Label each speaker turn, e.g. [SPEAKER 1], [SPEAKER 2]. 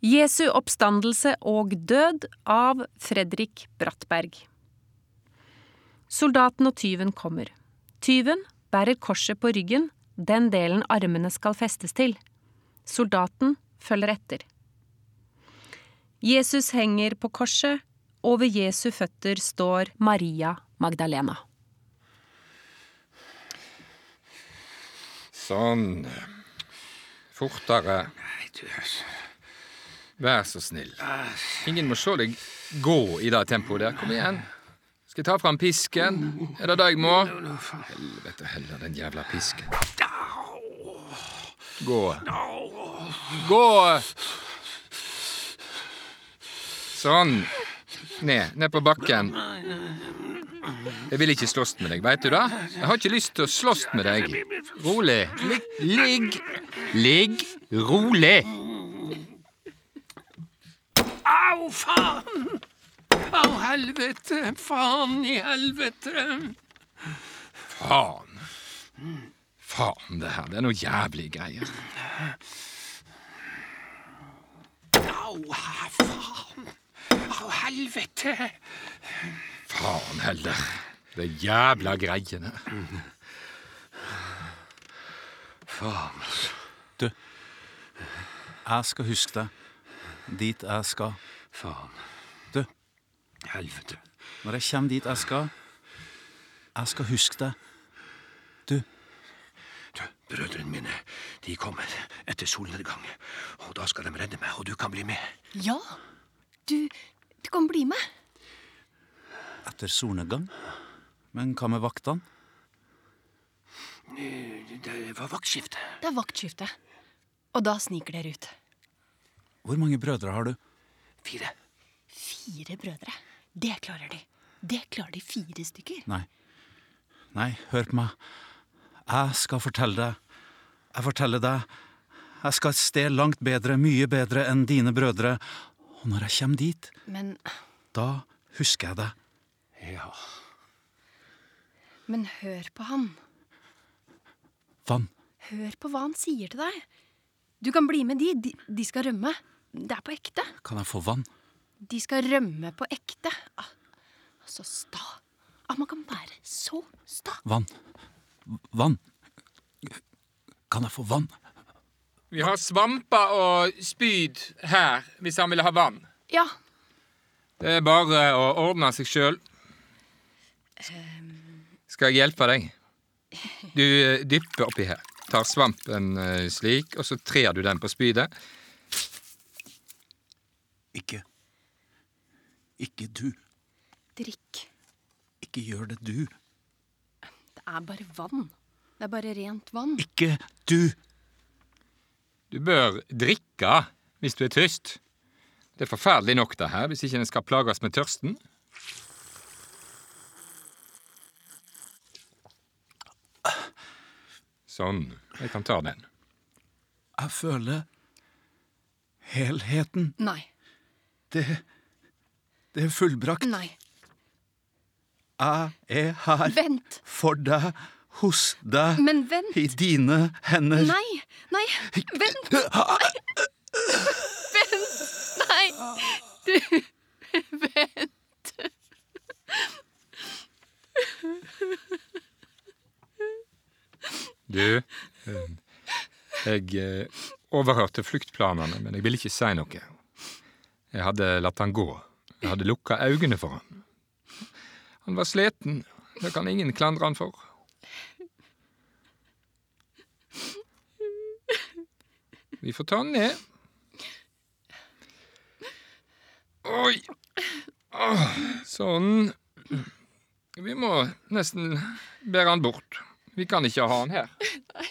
[SPEAKER 1] Jesu oppstandelse og død av Fredrik Brattberg. Soldaten og tyven kommer. Tyven bærer korset på ryggen, den delen armene skal festes til. Soldaten følger etter. Jesus henger på korset, over Jesu føtter står Maria Magdalena.
[SPEAKER 2] Sånn. Fortere.
[SPEAKER 3] Nei, du, altså.
[SPEAKER 2] Vær så snill. Ingen må se deg gå i det tempoet der. Kom igjen. Skal jeg ta fram pisken? Er det det jeg må?
[SPEAKER 3] Nå, faen.
[SPEAKER 2] Helvete heller, den jævla pisken. Gå. Gå! Sånn. Ned. Ned på bakken. Jeg vil ikke slåss med deg, veit du det? Jeg har ikke lyst til å slåss med deg. Rolig. Ligg. Ligg. Ligg rolig.
[SPEAKER 3] Au, faen! Au, helvete! Faen i helvete!
[SPEAKER 2] Faen. Faen, det her. Det er noe jævlig greier.
[SPEAKER 3] Au, ha, faen! Au, helvete!
[SPEAKER 2] Faen heller. Det er jævla greiene.
[SPEAKER 4] Jeg skal huske deg dit jeg skal.
[SPEAKER 3] Faen.
[SPEAKER 4] Du.
[SPEAKER 3] Helvete.
[SPEAKER 4] Når jeg kommer dit jeg skal, jeg skal huske deg. Du,
[SPEAKER 3] Du, brødrene mine, de kommer etter solnedgang, og da skal de redde meg, og du kan bli med.
[SPEAKER 5] Ja, du, du kan bli med.
[SPEAKER 4] etter solnedgang. Men hva med vaktene?
[SPEAKER 3] Det var vaktskifte.
[SPEAKER 5] Det er vaktskifte. Og da sniker dere ut.
[SPEAKER 4] Hvor mange brødre har du?
[SPEAKER 3] Fire.
[SPEAKER 5] Fire brødre. Det klarer de. Det klarer de fire stykker.
[SPEAKER 4] Nei. Nei, hør på meg. Jeg skal fortelle deg. Jeg forteller deg. Jeg skal et sted langt bedre, mye bedre enn dine brødre. Og når jeg kommer dit,
[SPEAKER 5] Men,
[SPEAKER 4] da husker jeg deg.
[SPEAKER 3] Ja.
[SPEAKER 5] men hør på han.
[SPEAKER 4] Vann.
[SPEAKER 5] Hør på hva han sier til deg. Du kan bli med de. De, de skal rømme. Det er på ekte.
[SPEAKER 4] Kan jeg få vann?
[SPEAKER 5] De skal rømme på ekte. Ah, Så sta. Ah, man kan være så sta.
[SPEAKER 4] Vann. Vann. Kan jeg få vann?
[SPEAKER 2] Vi har svamper og spyd her, hvis han ville ha vann.
[SPEAKER 5] Ja,
[SPEAKER 2] Det er bare å ordne seg sjøl. Skal jeg hjelpe deg? Du eh, dypper oppi her. Tar svampen eh, slik, og så trer du den på spydet.
[SPEAKER 4] Ikke. Ikke du.
[SPEAKER 5] drikk.
[SPEAKER 4] Ikke gjør det, du.
[SPEAKER 5] Det er bare vann. Det er bare rent vann.
[SPEAKER 4] Ikke du.
[SPEAKER 2] Du bør drikke hvis du er tørst. Det er forferdelig nok, det her, hvis ikke en skal plages med tørsten. Sånn. Jeg kan ta den.
[SPEAKER 4] Jeg føler helheten.
[SPEAKER 5] Nei.
[SPEAKER 4] Det Det er fullbrakt.
[SPEAKER 5] Nei.
[SPEAKER 4] Jeg er her
[SPEAKER 5] Vent.
[SPEAKER 4] for deg, hos deg,
[SPEAKER 5] Men vent.
[SPEAKER 4] i dine hender.
[SPEAKER 5] Nei. Nei. Vent. Nei.
[SPEAKER 2] Du, eh, jeg eh, overhørte fluktplanene, men jeg ville ikke si noe. Jeg hadde latt han gå. Jeg hadde lukka øynene for han. Han var sliten. Det kan ingen klandre han for. Vi får ta han ned. Oi! Åh, sånn. Vi må nesten bære han bort. Vi kan ikke ha han her.